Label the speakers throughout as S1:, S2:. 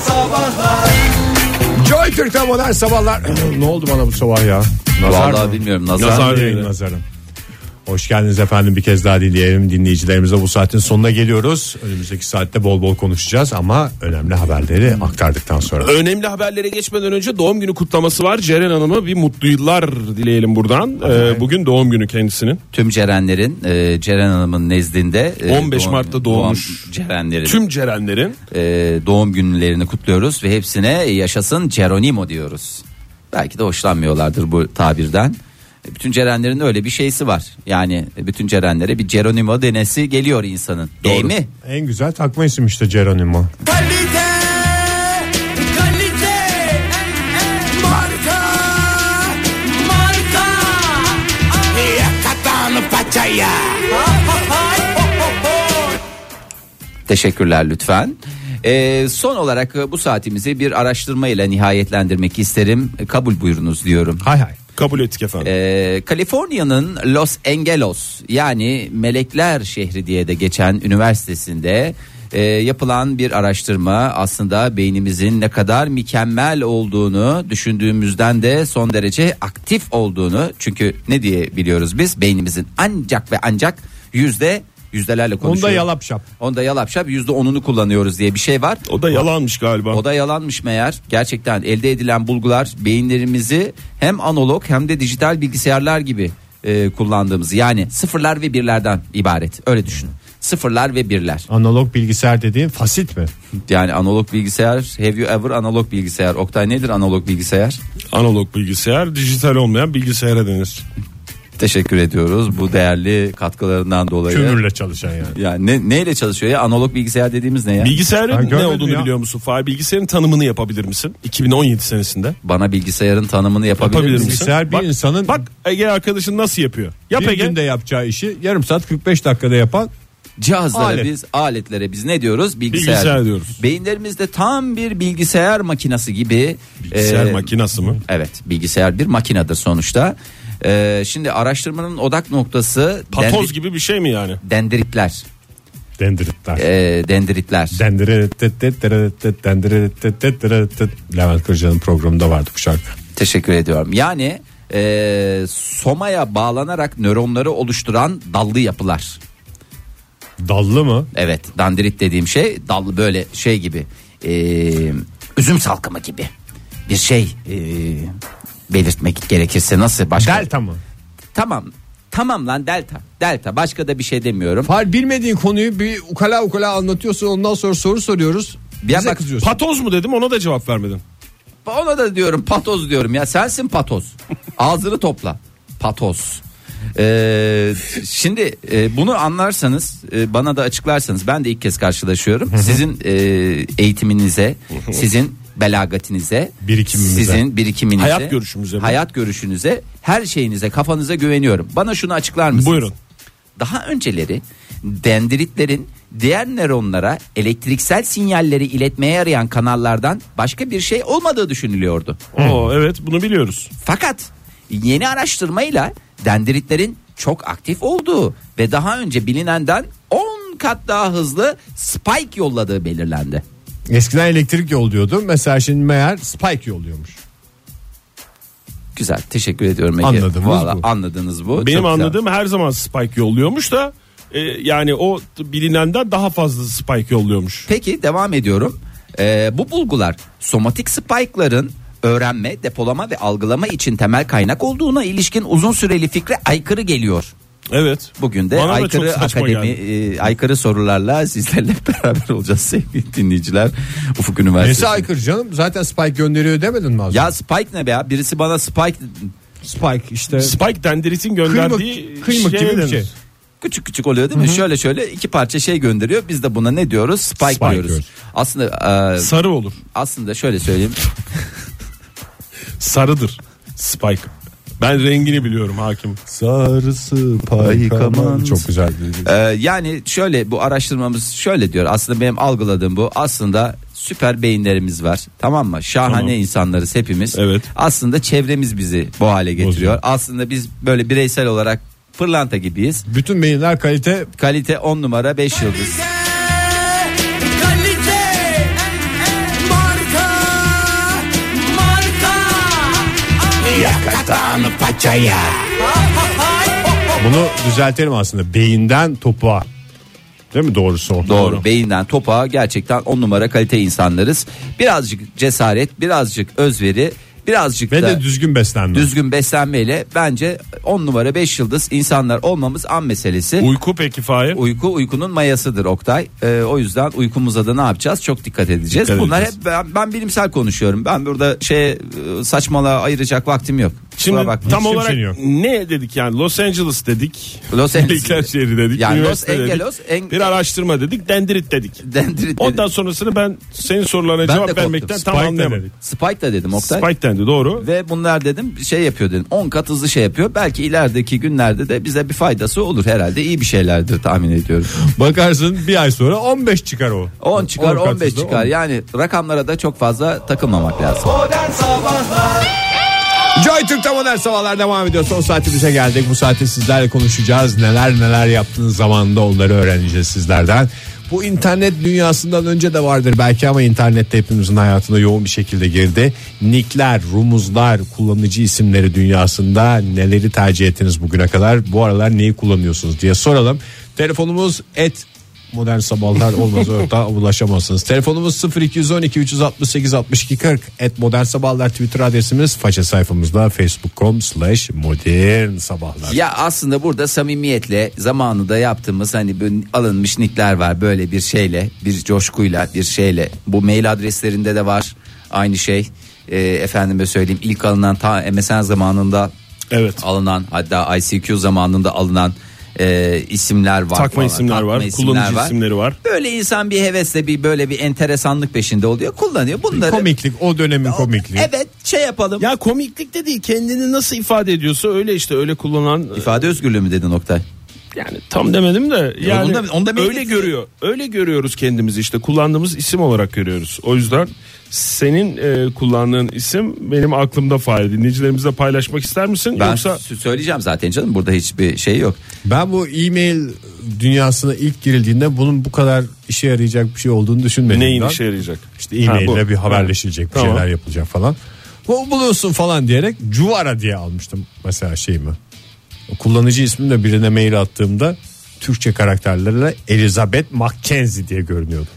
S1: Sabahlar
S2: Joy Türk'te modern sabahlar. ne oldu bana bu sabah ya?
S3: Vallahi bilmiyorum, nazar
S2: nazar
S3: mı?
S2: değil, nazarım. Hoş geldiniz efendim bir kez daha dinleyelim dinleyicilerimize bu saatin sonuna geliyoruz. Önümüzdeki saatte bol bol konuşacağız ama önemli haberleri aktardıktan sonra.
S4: Önemli haberlere geçmeden önce doğum günü kutlaması var. Ceren Hanım'a bir mutlu yıllar dileyelim buradan. Ee, bugün doğum günü kendisinin.
S3: Tüm Cerenlerin e, Ceren Hanım'ın nezdinde e,
S4: 15 Mart'ta doğmuş.
S3: Cerenlerin
S4: Tüm Cerenlerin
S3: e, doğum günlerini kutluyoruz ve hepsine yaşasın Ceronimo diyoruz. Belki de hoşlanmıyorlardır bu tabirden. E, Bütün Cerenlerin öyle bir şeysi var. Yani e, bütün Cerenlere bir Ceronimo denesi geliyor insanın. Değil mi?
S2: En güzel takma isim işte Geronimo.
S1: kalite kalite marka marka yakatan paçaya
S3: Teşekkürler lütfen. Ee, son olarak e, bu saatimizi bir araştırma ile nihayetlendirmek isterim. E, Kabul buyurunuz diyorum.
S2: Hay hay.
S4: kabul ettik efendim.
S3: Ee, Kaliforniya'nın Los Angeles yani melekler şehri diye de geçen üniversitesinde e, yapılan bir araştırma aslında beynimizin ne kadar mükemmel olduğunu düşündüğümüzden de son derece aktif olduğunu çünkü ne diye biliyoruz biz beynimizin ancak ve ancak yüzde yüzdelerle konuşuyoruz.
S2: Onda yalap şap.
S3: Onda yalap şap yüzde onunu kullanıyoruz diye bir şey var.
S4: O da yalanmış galiba.
S3: O da yalanmış meğer. Gerçekten elde edilen bulgular beyinlerimizi hem analog hem de dijital bilgisayarlar gibi e, kullandığımız yani sıfırlar ve birlerden ibaret. Öyle düşünün. Sıfırlar ve birler.
S2: Analog bilgisayar dediğin fasit mi?
S3: Yani analog bilgisayar, have you ever analog bilgisayar? Oktay nedir analog bilgisayar?
S4: Analog bilgisayar dijital olmayan bilgisayara denir.
S3: Teşekkür ediyoruz bu değerli katkılarından dolayı.
S2: Kömürle çalışan yani.
S3: Yani ne, neyle çalışıyor ya? Analog bilgisayar dediğimiz ne ya?
S2: Ben
S4: Bilgisayarın ne
S2: görmedim
S4: olduğunu
S2: ya.
S4: biliyor musun? Fahir bilgisayarın tanımını yapabilir misin? 2017 senesinde.
S3: Bana bilgisayarın tanımını yapabilir,
S4: Yapabilir
S3: misin?
S4: misin?
S2: Bilgisayar bir
S4: Bak-
S2: insanın
S4: Bak Ege arkadaşın nasıl yapıyor? Yap
S2: bir
S4: Ege.
S2: günde yapacağı işi yarım saat 45 dakikada yapan
S3: Cihazlara
S2: Alet.
S3: biz aletlere biz ne diyoruz? Bilgisayar.
S4: Bilgisayar diyoruz.
S3: Beyinlerimizde tam bir bilgisayar makinası gibi.
S4: Bilgisayar
S3: e,
S4: makinası mı?
S3: Evet bilgisayar bir makinedir sonuçta. E, şimdi araştırmanın odak noktası
S4: Patoz
S3: dendi-
S4: gibi bir şey mi yani?
S3: dendritler.
S2: dendritler.
S3: E, dendritler.
S2: Levent Kırca'nın programında vardı bu şarkı.
S3: Teşekkür ediyorum. Yani e, somaya bağlanarak nöronları oluşturan dallı yapılar.
S2: Dallı mı?
S3: Evet dandrit dediğim şey dallı böyle şey gibi e, üzüm salkımı gibi bir şey e, belirtmek gerekirse nasıl başka?
S2: Delta mı?
S3: Tamam tamam lan delta delta başka da bir şey demiyorum.
S2: Far bilmediğin konuyu bir ukala ukala anlatıyorsun ondan sonra soru soruyoruz.
S3: Ya
S2: bize
S3: bak,
S2: kızıyorsun.
S4: Patoz mu dedim ona da cevap vermedin.
S3: Ona da diyorum patoz diyorum ya sensin patoz ağzını topla patoz. E, şimdi e, bunu anlarsanız e, bana da açıklarsanız ben de ilk kez karşılaşıyorum. Sizin e, eğitiminize sizin belagatinize
S2: Birikimimize.
S3: sizin birikiminize,
S4: Hayat görüşümüze mi?
S3: hayat görüşünüze, her şeyinize, kafanıza güveniyorum. Bana şunu açıklar mısınız?
S4: Buyurun.
S3: Daha önceleri dendritlerin diğer nöronlara elektriksel sinyalleri iletmeye yarayan kanallardan başka bir şey olmadığı düşünülüyordu.
S4: Oo, evet bunu biliyoruz.
S3: Fakat yeni araştırmayla dendritlerin çok aktif olduğu ve daha önce bilinenden 10 kat daha hızlı spike yolladığı belirlendi.
S2: Eskiden elektrik yolluyordu. Mesela şimdi meğer spike yolluyormuş.
S3: Güzel teşekkür ediyorum Ege.
S2: Anladığımız
S3: Valla
S2: bu.
S3: anladınız bu.
S4: Benim
S3: Çok güzel.
S4: anladığım her zaman Spike yolluyormuş da e, yani o t- bilinenden daha fazla Spike yolluyormuş.
S3: Peki devam ediyorum. Ee, bu bulgular somatik spike'ların öğrenme, depolama ve algılama için temel kaynak olduğuna ilişkin uzun süreli fikre aykırı geliyor.
S4: Evet.
S3: Bugün de
S4: Bana da çok
S3: aykırı
S4: saçma
S3: akademi,
S4: geldi.
S3: e, aykırı sorularla sizlerle beraber olacağız sevgili dinleyiciler. Ufuk Üniversitesi.
S2: Nesi aykırı canım? Zaten spike gönderiyor demedin mi az
S3: Ya spike ne be ya? Birisi bana spike
S2: spike işte.
S4: Spike dendritin gönderdiği
S2: Kıymık- kıymık
S4: şeye
S2: gibi bir
S4: denir.
S2: şey.
S3: küçük küçük oluyor değil mi? Şöyle şöyle iki parça şey gönderiyor. Biz de buna ne diyoruz? Spike,
S2: Spike
S3: diyoruz.
S2: diyoruz.
S3: Aslında e,
S4: Sarı olur.
S3: aslında şöyle söyleyeyim.
S4: Sarıdır Spike. Ben rengini biliyorum hakim.
S2: Sarısı spike aman. Çok güzel.
S3: Ee, yani şöyle bu araştırmamız şöyle diyor aslında benim algıladığım bu aslında süper beyinlerimiz var tamam mı şahane
S4: Tamam.
S3: insanlarız hepimiz
S4: Evet.
S3: aslında çevremiz bizi bu hale getiriyor
S2: Bozuyor.
S3: aslında biz böyle bireysel olarak pırlanta gibiyiz
S2: Bütün beyinler kalite
S3: kalite 10 numara 5 yıldız
S1: kalite kalite marka Dağını paçaya.
S2: Bunu düzeltelim aslında. Beyinden topuğa. Değil mi doğrusu? o?
S3: Doğru. Beyinden topa gerçekten on numara kalite insanlarız. Birazcık cesaret, birazcık özveri, birazcık
S2: Ve
S3: da
S2: de düzgün beslenme.
S3: düzgün beslenmeyle bence on numara 5 yıldız insanlar olmamız an meselesi.
S4: Uyku peki Fahir?
S3: Uyku uykunun mayasıdır Oktay. Ee, o yüzden uykumuza da ne yapacağız? Çok dikkat edeceğiz.
S4: Dikkat
S3: Bunlar
S4: edeceğiz.
S3: hep ben, ben bilimsel konuşuyorum. Ben burada şey e, saçmalığa ayıracak vaktim yok. Kusura
S4: Şimdi
S3: bakma.
S4: tam
S2: Hiç
S4: olarak
S2: kimsenin yok.
S4: ne dedik yani Los Angeles dedik.
S3: Los Angeles.
S4: Beylikler şehri dedik.
S3: Yani Los
S4: üniversite dedik,
S3: Angeles, en-
S4: Bir araştırma dedik. Dendrit dedik.
S3: Dendrit dedim.
S4: Ondan sonrasını ben senin sorularına
S3: de
S4: cevap
S3: korktum.
S4: vermekten tam
S2: Spike
S4: anlayamadım.
S2: demedik.
S3: Spike da dedim Oktay.
S4: Spike dendi doğru.
S3: Ve bunlar dedim şey yapıyor dedim 10 kat hızlı şey yapıyor. Belki ilerideki günlerde de bize bir faydası olur herhalde iyi bir şeylerdir tahmin ediyorum.
S2: Bakarsın bir ay sonra 15 çıkar o.
S3: 10 çıkar
S2: On
S3: 15
S2: katısı da
S3: çıkar yani rakamlara da çok fazla takılmamak lazım.
S2: Joy Türk'te modern sabahlar devam ediyor. Son saati bize geldik. Bu saatte sizlerle konuşacağız. Neler neler yaptığınız zamanında onları öğreneceğiz sizlerden. Bu internet dünyasından önce de vardır belki ama internette hepimizin hayatına yoğun bir şekilde girdi. Nickler, rumuzlar, kullanıcı isimleri dünyasında neleri tercih ettiniz bugüne kadar? Bu aralar neyi kullanıyorsunuz diye soralım. Telefonumuz et modern sabahlar olmaz orada ulaşamazsınız. Telefonumuz 0212 368 62 40 et modern sabahlar Twitter adresimiz faça sayfamızda facebook.com slash modern sabahlar.
S3: Ya aslında burada samimiyetle zamanında yaptığımız hani böyle alınmış nickler var böyle bir şeyle bir coşkuyla bir şeyle bu mail adreslerinde de var aynı şey Ee, efendime söyleyeyim ilk alınan ta MSN zamanında
S4: Evet.
S3: alınan hatta ICQ zamanında alınan e, isimler var
S4: Takma
S3: falan.
S4: isimler var, kullanıcı isimleri var.
S3: böyle insan bir hevesle bir böyle bir enteresanlık peşinde oluyor kullanıyor bunları
S2: Komiklik o dönemin komikliği.
S3: evet şey yapalım
S4: Ya komiklik de değil kendini nasıl ifade ediyorsa öyle işte öyle e, kullanan
S3: ifade özgürlüğü mü dedin Oktay
S4: yani tam demedim de yani
S3: onu da- onu da
S4: öyle
S3: belirtsin.
S4: görüyor. Öyle görüyoruz kendimizi işte kullandığımız isim olarak görüyoruz. O yüzden senin e, kullandığın isim benim aklımda Fahir. Dinleyicilerimizle paylaşmak ister misin?
S3: Ben
S4: Yoksa
S3: sö- söyleyeceğim zaten canım burada hiçbir şey yok.
S2: Ben bu e-mail dünyasına ilk girildiğinde bunun bu kadar işe yarayacak bir şey olduğunu düşünmedim.
S4: neyin
S2: ben.
S4: işe yarayacak?
S2: İşte e-mail
S4: Ha, bu.
S2: ile bir haberleşilecek bir
S4: Tamam.
S2: şeyler yapılacak falan. Bu buluyorsun falan diyerek Cuvara diye almıştım mesela şeyimi. O Kullanıcı ismimle birine mail attığımda Türkçe karakterlerle Elizabeth Mackenzie diye görünüyordu.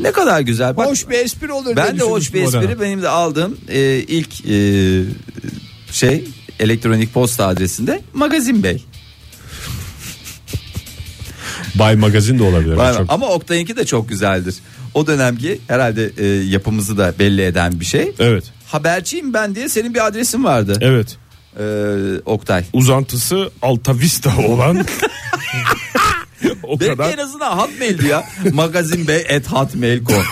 S3: Ne kadar güzel. Bak,
S2: Hoş bir espri olur. diye
S3: ben de hoş
S2: düşünmüştüm
S3: bir
S2: o dönem.
S3: espri benim de aldığım e, ilk e, şey elektronik posta adresinde Magazin Bey.
S2: Bay Magazin de olabilir.
S3: Vay be.
S2: Çok-
S3: Ama Oktay'ınki de çok güzeldir. O dönemki herhalde e, yapımızı da belli eden bir şey.
S4: Evet.
S3: Haberciyim ben diye senin bir adresin vardı.
S4: Evet.
S3: Ee, Oktay.
S4: Uzantısı Altavista olan o
S3: Belki
S4: kadar
S3: en azından Hotmail'di ya. Magazin Bey et Hotmail.com.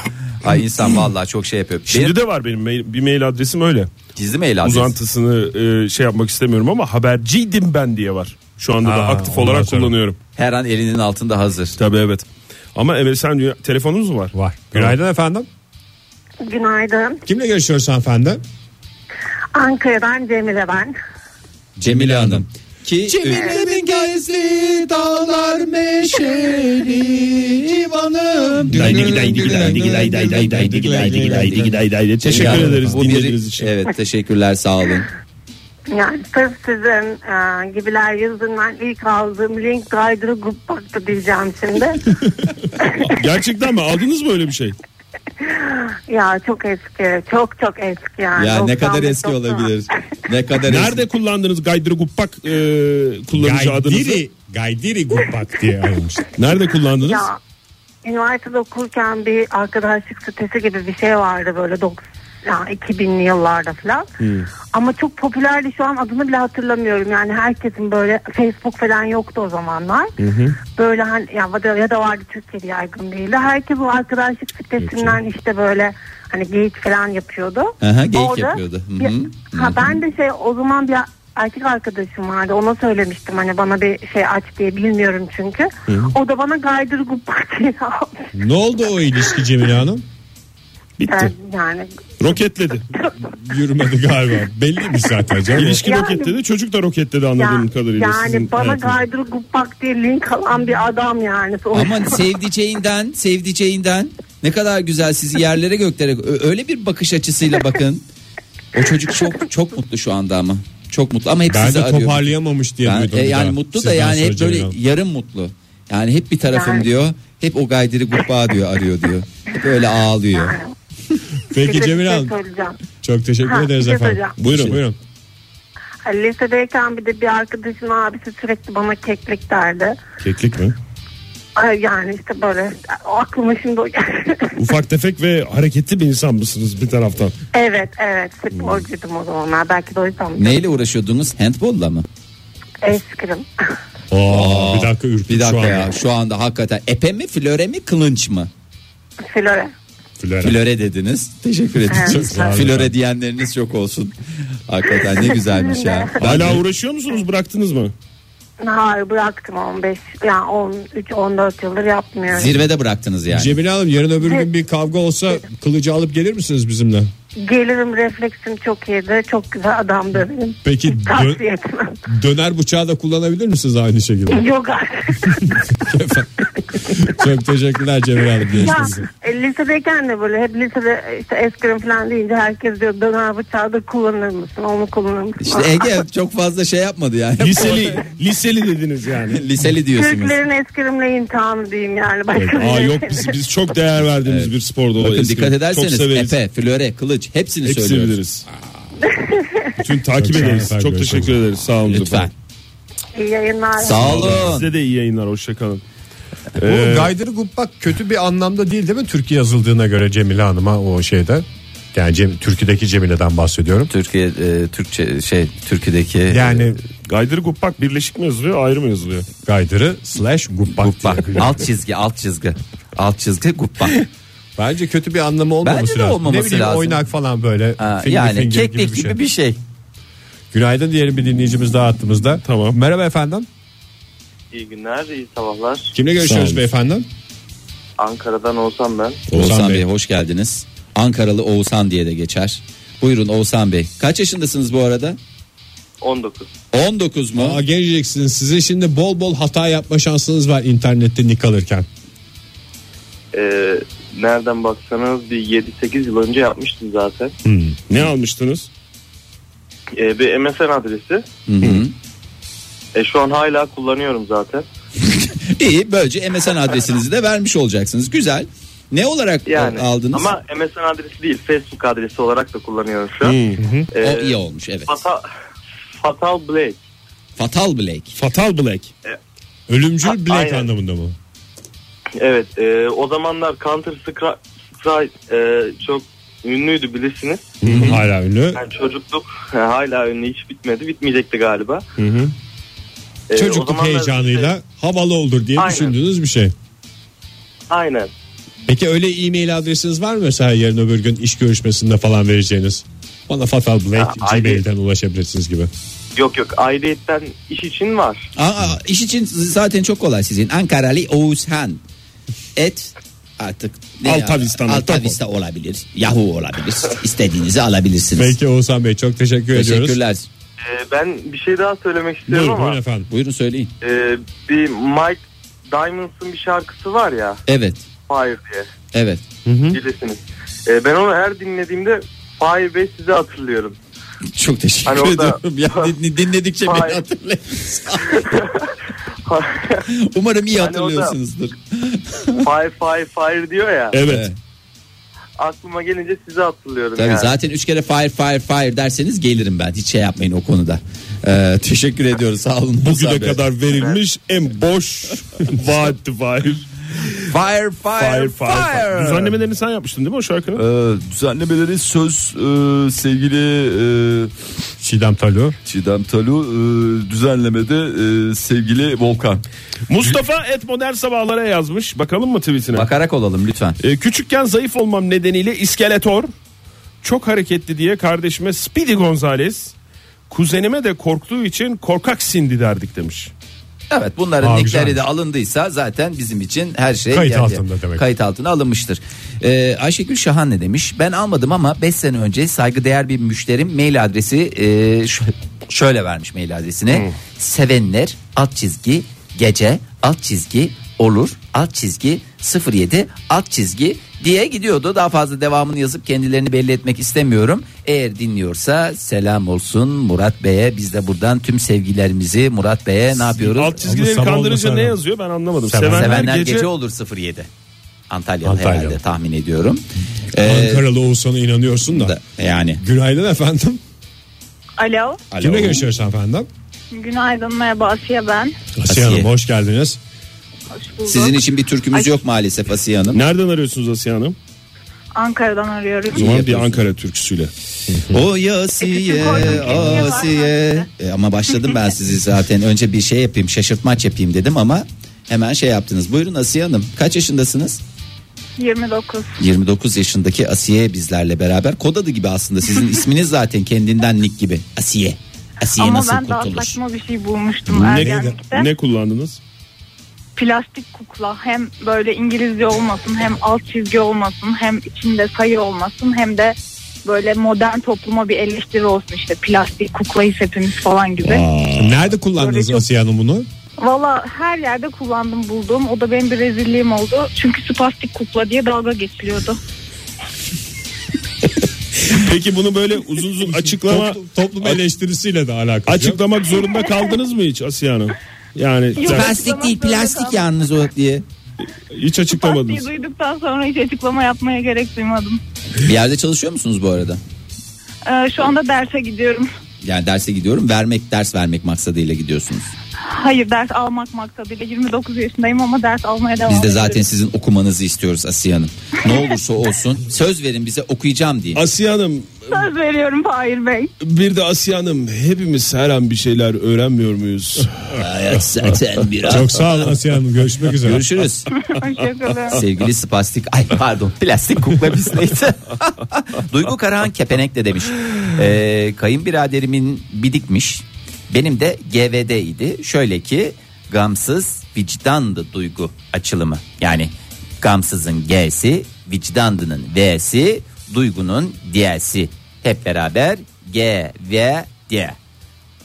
S3: Ay insan vallahi çok şey yapıyor.
S4: Şimdi
S3: Benim
S4: de var benim mail- bir mail adresim öyle.
S3: gizli mail adresim.
S4: uzantısını e, şey yapmak istemiyorum ama haberciydim ben diye var. Şu anda da
S2: Ha,
S4: aktif
S2: ondan
S4: olarak
S2: sonra.
S4: kullanıyorum.
S3: Her an elinin altında hazır.
S4: Tabii evet. Ama evet sen diyor- telefonunuz mu var?
S2: Var. Günaydın efendim.
S5: Günaydın.
S2: Kimle görüşüyoruz hanımefendi?
S5: Ankara'dan Cemile ben.
S3: Cemile Hanım. Ki e,
S2: Cemile'nin gezdi dağlar meşeli civanım.
S4: Teşekkür
S3: Yani
S4: ederiz
S3: bu
S4: dinlediğiniz
S3: biri-
S4: için.
S3: Evet teşekkürler sağ olun.
S5: Yani sırf sizin e, gibiler yüzünden ilk aldığım renk kaydırı guppaktı diyeceğim şimdi.
S4: Gerçekten mi? Aldınız mı öyle bir şey?
S5: ya çok eski. Çok çok eski yani.
S3: Ya ne
S5: 90,
S3: kadar eski
S5: 90.
S3: olabilir? Ne kadar eski?
S4: Nerede kullandınız Gaydırı Guppak e, kullanıcı adınızı?
S2: Gaydiri, Gaydiri Gupak diye almıştı.
S4: Nerede kullandınız?
S5: Ya üniversitede okurken bir arkadaşlık sitesi gibi bir şey vardı böyle 90 yani 2000'li yıllarda falan. Ama çok popülerdi şu an adını bile hatırlamıyorum. Yani herkesin böyle Facebook falan yoktu o zamanlar. Böyle hani ya, da- ya da vardı Türkiye'de yaygın değildi. Herkes o arkadaşlık sitesinden işte böyle hani geyik falan yapıyordu.
S3: Aha, geyik
S5: Orada
S3: yapıyordu. Hı
S5: bir-
S3: hı. Hı
S5: Ha,
S3: hı.
S5: ben de şey o zaman bir erkek arkadaşım vardı. Ona söylemiştim hani bana bir şey aç diye bilmiyorum çünkü. O da bana gaydır gubbak diye aldı.
S2: ne oldu o ilişki Cemile Hanım?
S5: Ben yani
S4: Roketledi.
S2: Yürümedi galiba. Belliymiş zaten canım.
S4: İlişki
S5: Yani-
S4: roketledi. Çocuk da roketledi anladığım
S5: ya-
S4: kadarıyla. sizin
S5: yani bana
S4: hayatınızda.
S5: gaydır gubbak diye link alan bir adam yani.
S3: Aman sevdiceğinden, sevdiceğinden ne kadar güzel sizi yerlere göklere ö- öyle bir bakış açısıyla bakın. O çocuk çok çok mutlu şu anda ama. Çok mutlu ama hep
S2: Ben
S3: sizi
S2: de
S3: arıyorum.
S2: toparlayamamış diye
S3: Ben-
S2: duydum.
S3: e,
S2: bir
S3: yani
S2: daha.
S3: mutlu da
S2: Sizden
S3: yani
S2: sonra
S3: hep böyle
S2: Ceylan.
S3: yarım mutlu. Yani hep bir tarafım
S5: Yani.
S3: diyor. Hep o gaydiri gurbağa diyor arıyor diyor. Hep öyle ağlıyor.
S2: Peki
S5: Size bir
S2: Cemil
S5: şey
S2: Hanım
S5: söyleyeceğim.
S2: çok teşekkür
S5: Ha,
S2: ederiz
S5: bir şey
S2: efendim.
S5: söyleyeceğim.
S2: Buyurun
S3: Şey-
S2: buyurun.
S5: Lisedeyken bir de bir arkadaşımın abisi sürekli bana keklik derdi.
S4: Keklik mi?
S5: Ay, Yani işte böyle o aklıma şimdi o geldi.
S4: Ufak tefek ve hareketli bir insan mısınız bir taraftan?
S5: Evet evet sporcuydum o zamanlar belki de o yüzden
S3: Neyle uğraşıyordunuz? Handball'la mı?
S5: eskrim.
S2: Aa, bir dakika ürküt
S3: Bir dakika
S2: şu
S3: ya şu anda hakikaten epe mi flöre mi kılınç mı?
S5: Flore.
S2: Flora.
S3: Flöre dediniz. Teşekkür
S5: Çok
S3: ederiz.
S5: sağ
S2: olun
S3: Flöre diyenleriniz çok olsun. Hakikaten ne güzelmiş ya. Ben
S4: Hala uğraşıyor musunuz bıraktınız mı?
S5: Hayır bıraktım 15 yani 13 14 yıldır yapmıyorum.
S3: zirvede bıraktınız yani.
S2: Cemil Hanım yarın öbür gün bir kavga olsa kılıcı alıp gelir misiniz bizimle?
S5: Gelirim refleksim çok iyiydi. Çok güzel adamdı benim.
S2: Peki dö-
S5: Tavsiye etmem.
S2: döner bıçağı da kullanabilir misiniz aynı şekilde?
S5: Yok artık.
S2: Çok teşekkürler Cemil Hanım.
S5: ya,
S2: Görüşmek üzere.
S5: e, lisedeyken de böyle hep lisede işte eskrim falan deyince herkes diyor döner bıçağı da kullanır mısın onu kullanır mısın?
S3: İşte Ege çok fazla şey yapmadı yani.
S4: Liseli, liseli dediniz yani.
S3: Liseli diyorsunuz.
S5: Türklerin eskrimle imtihanı diyeyim yani. Başka
S4: Aa
S5: bir
S4: yok biz, biz çok değer verdiğimiz bir spor dolu.
S3: Bakın
S4: eski.
S3: dikkat
S4: çok
S3: ederseniz
S4: severiz.
S3: epe, flöre, kılıç hepsini
S4: Hepsini
S3: söylüyoruz.
S4: biliriz. Bütün takip
S2: Çok sağ
S4: ederiz.
S2: olun.
S4: Çok teşekkür ederiz. Sağ olun.
S3: Lütfen.
S4: efendim.
S5: İyi yayınlar.
S3: Sağ olun.
S4: Size de iyi yayınlar. Hoşçakalın. Ee,
S2: Bu Gaydırı Gubbak kötü bir anlamda değil değil mi? Türkiye yazıldığına göre Cemile Hanım'a o şeyde. Yani Cem, türküdeki Cemile'den bahsediyorum.
S6: Türkiye e, Türkçe şey Türkiye'deki e,
S2: Yani
S4: Gaydırı Guppak birleşik mi yazılıyor ayrı mı yazılıyor?
S2: Gaydırı slash Gubbak.
S6: Bak
S2: diye.
S6: alt çizgi alt çizgi alt çizgi guppa.
S2: Bence kötü bir anlamı olmaması
S6: Bence de
S2: lazım.
S6: olmaması
S2: ne bileyim
S6: lazım.
S2: oynak falan böyle.
S6: Ha,
S2: finger
S6: yani
S2: finger
S6: keklik gibi, bir şey.
S2: Günaydın diyelim bir dinleyicimiz daha attığımızda. Tamam. Merhaba efendim.
S7: İyi günler, iyi sabahlar.
S2: Kimle görüşüyoruz
S3: olun.
S2: beyefendi?
S7: Ankara'dan olsam ben.
S3: Oğuzhan,
S2: Oğuzhan
S3: Bey.
S2: Bey.
S3: hoş geldiniz. Ankaralı Oğuzhan diye de geçer. Buyurun Oğuzhan Bey. Kaç yaşındasınız bu arada?
S7: 19.
S3: 19 mu?
S2: Aa, geleceksiniz. Size şimdi bol bol hata yapma şansınız var internette nick alırken.
S7: Ee, nereden baksanız bir 7-8 yıl önce yapmıştım zaten.
S4: Ne almıştınız?
S7: Ee, bir MSN adresi.
S3: Hı-hı.
S7: E, şu an hala kullanıyorum zaten.
S3: İyi böylece MSN adresinizi de vermiş olacaksınız. Güzel. Ne olarak
S7: Yani
S3: a- aldınız?
S7: ama MSN adresi değil, Facebook adresi olarak da kullanıyorum şu an.
S2: Hmm.
S7: Ee,
S3: o iyi olmuş evet.
S7: Fatal, Fatal Blade.
S3: Fatal Blake.
S4: Fatal Black.
S2: Ölümcül
S7: A-
S2: Blake
S7: aynen.
S2: anlamında mı?
S7: Evet, e, o zamanlar Counter Strike Strike, e, çok ünlüydü bilirsiniz.
S2: Hala ünlü.
S7: Yani çocukluk e, hala ünlü hiç bitmedi, bitmeyecekti galiba. E, o
S2: Çocukluk
S7: zamanlar-
S2: heyecanıyla havalı olur diye
S7: Aynen.
S2: düşündüğünüz bir şey.
S7: Aynen.
S2: Peki öyle e-mail adresiniz var mı mesela yarın öbür gün iş görüşmesinde falan vereceğiniz? Bana Fatal Blake
S7: Aa,
S2: Gmail'den ulaşabilirsiniz gibi.
S7: Yok yok ayrıyetten iş için var.
S3: Aa, iş için zaten çok kolay sizin. Ankaralı Oğuzhan. Et artık ne ya-
S4: Altavistan,
S3: Altavista olabilir. Yahoo olabilir. İstediğinizi alabilirsiniz.
S2: Peki Oğuzhan Bey çok teşekkür ediyoruz.
S3: Teşekkürler.
S7: Ee, ben bir şey daha söylemek istiyorum
S2: Buyurun,
S7: ama
S2: buyurun efendim.
S3: Buyurun söyleyin.
S7: e, bir Mike Diamonds'ın bir şarkısı var ya
S3: Evet.
S7: Fire diye
S3: Evet.
S7: bilirsiniz. E, ben onu her dinlediğimde Fire Bey sizi hatırlıyorum.
S3: Çok teşekkür
S7: Hani orada-
S3: ediyorum. Ya, din- dinledikçe beni
S7: Hayır.
S3: hatırlıyorsunuz. Umarım iyi
S7: Hani orada-
S3: hatırlıyorsunuzdur.
S7: fire Fire Fire diyor ya
S4: Evet.
S7: aklıma gelince sizi hatırlıyorum.
S3: Tabii
S7: yani.
S3: zaten üç kere fire fire fire derseniz gelirim ben. Hiç şey yapmayın o konuda. Ee, teşekkür ediyoruz. Sağ olun.
S4: Bugüne
S3: Musa Bey.
S4: kadar verilmiş en boş vaatti Fahir.
S6: Fire fire fire.
S4: Fahir Fahir. Düzenlemelerini sen yapmıştın değil mi o şarkının?
S6: Ee, düzenlemeleri söz e, sevgili e,
S2: Çiğdem Talu.
S6: Çiğdem Talu e, düzenlemede e, sevgili Volkan.
S4: Mustafa et modern sabahlara yazmış. Bakalım mı tweetine?
S6: Bakarak olalım lütfen.
S4: E, küçükken zayıf olmam nedeniyle iskeletor çok hareketli diye kardeşime Speedy Gonzales kuzenime de korktuğu için korkak sindi derdik demiş.
S6: Evet bunların
S2: Aa,
S6: nickleri de
S2: güzelmiş.
S6: alındıysa zaten bizim için her şey
S2: Kayıt
S6: yerli.
S2: altında demek.
S6: Kayıt altına alınmıştır. Ee, Ayşegül Şahan ne demiş? Ben almadım ama 5 sene önce saygıdeğer bir müşterim mail adresi e, ş- şöyle vermiş mail adresini. Sevenler alt çizgi gece alt çizgi olur alt çizgi 07 alt çizgi
S3: diye gidiyordu. Daha fazla devamını yazıp kendilerini belli etmek istemiyorum. Eğer dinliyorsa selam olsun Murat Bey'e. Biz de buradan tüm sevgilerimizi Murat
S8: E,
S3: Bey'e ne yapıyoruz?
S4: Alt çizgileri
S2: sabah
S4: kandırınca
S2: olmasa
S4: ne
S2: önemli.
S4: yazıyor ben anlamadım.
S2: Sevenler
S4: Sevenler,
S3: Sevenler
S4: gece,
S3: gece... olur 07. Antalyalı,
S2: Antalyalı.
S3: herhalde tahmin ediyorum. Ee,
S2: Ankaralı Oğuzhan'a inanıyorsun da.
S8: Da- Yani.
S2: Günaydın efendim.
S6: Alo.
S8: Alo.
S2: Kimle görüşüyoruz efendim?
S6: Günaydın merhaba Asiye ben.
S2: Asiye Hanım hoş geldiniz.
S6: Hoş bulduk.
S8: Sizin için bir türkümüz
S6: Ay.
S8: yok maalesef Asiye Hanım.
S4: Nereden arıyorsunuz Asiye Hanım?
S6: Ankara'dan
S4: O
S6: arıyoruz.
S4: zaman bir
S8: yapıyorsun.
S4: Ankara türküsüyle.
S8: O
S6: E,
S8: Asiye,
S6: çünkü koyduk, Asiye var
S8: Asiye. E, ama başladım ben sizi zaten. Önce bir şey yapayım, şaşırtmaç yapayım dedim ama hemen şey yaptınız. Buyurun Asiye Hanım. Kaç yaşındasınız?
S6: 29.
S8: 29 yaşındaki Asiye bizlerle beraber. Kod adı gibi aslında. Sizin isminiz zaten kendinden nick gibi. Asiye. Asiye
S6: Ama
S8: nasıl
S6: ben daha
S8: kurtulur?
S6: saçma bir şey bulmuştum ergenlikte.
S4: Ne kullandınız?
S6: Plastik kukla hem böyle İngilizce olmasın hem alt çizgi olmasın hem içinde sayı olmasın hem de böyle modern topluma bir eleştiri olsun işte plastik kuklayız hepimiz falan gibi.
S2: Nerede kullandınız
S6: Böyle çok-
S2: Asiye Hanım bunu?
S6: Valla her yerde kullandım buldum. O da benim bir rezilliğim oldu. Çünkü spastik kukla diye dalga geçiliyordu.
S4: Peki bunu böyle uzun uzun açıklama
S2: Toplum, toplum eleştirisiyle de alakalı.
S4: açıklamak zorunda kaldınız mı hiç Asiye Hanım? Yani
S6: Yok.
S4: sen-
S8: Plastik değil plastik yalnız o diye.
S4: hiç
S6: Spastiği
S4: açıklamadınız.
S6: duyduktan sonra hiç açıklama yapmaya gerek duymadım.
S8: Bir yerde çalışıyor musunuz bu arada?
S6: Ee, şu anda derse gidiyorum.
S8: Yani derse gidiyorum. Vermek, ders vermek maksadıyla gidiyorsunuz.
S6: Hayır ders almak maksadıyla 29 yaşındayım ama ders almaya devam
S8: Biz de
S6: ediyorum.
S8: zaten sizin okumanızı istiyoruz Asiye Hanım. Ne olursa olsun söz verin bize okuyacağım diye.
S4: Asiye Hanım
S6: Söz veriyorum Fahir Bey.
S4: bir de Asiye Hanım hepimiz her an bir şeyler öğrenmiyor muyuz?
S8: Hayat zaten biraz.
S2: Çok sağ olun Asiye Hanım. Görüşmek üzere.
S8: Görüşürüz.
S6: Hoşçakalın.
S8: Sevgili spastik.
S3: Ay pardon plastik kukla biz neyse. Duygu Karahan kepenek de demiş. Ee, kayınbiraderimin bidikmiş. Benim de GVD idi. Şöyle ki gamsız vicdandı duygu açılımı. Yani gamsızın G'si vicdandının V'si duygunun D'si. Hep beraber G, V, D.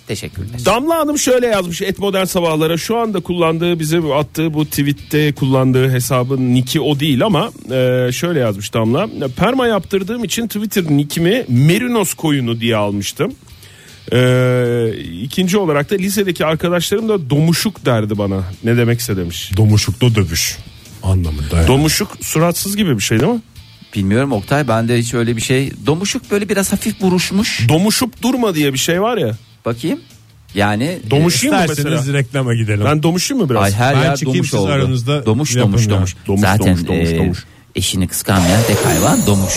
S3: Teşekkürler.
S4: Damla Hanım şöyle yazmış et modern sabahlara şu anda kullandığı bize attığı bu tweette kullandığı hesabın niki o değil ama e, şöyle yazmış Damla perma yaptırdığım için Twitter nikimi Merinos koyunu diye almıştım. E, ikinci olarak da lisedeki arkadaşlarım da domuşuk derdi bana ne demekse demiş.
S2: Domuşuklu dövüş anlamında. yani.
S4: Domuşuk suratsız gibi bir şey değil mi?
S3: Bilmiyorum Oktay bende hiç öyle bir şey. Domuşuk böyle biraz hafif buruşmuş.
S4: Domuşup durma diye bir şey var ya.
S3: Bakayım. Yani e,
S4: Domuşayım mı
S2: İsterseniz
S4: mesela?
S2: reklama gidelim.
S4: Ben domuşayım mı biraz?
S3: Ay her
S2: Ben
S3: yer
S2: çıkayım,
S3: domuş
S2: siz
S3: oldu.
S2: aranızda
S3: domuş
S2: yapın
S3: domuş
S2: ya.
S3: domuş.
S4: Domuş,
S3: Zaten
S4: domuş, domuş,
S3: e,
S4: domuş.
S3: eşini kıskanmayan tek hayvan domuş.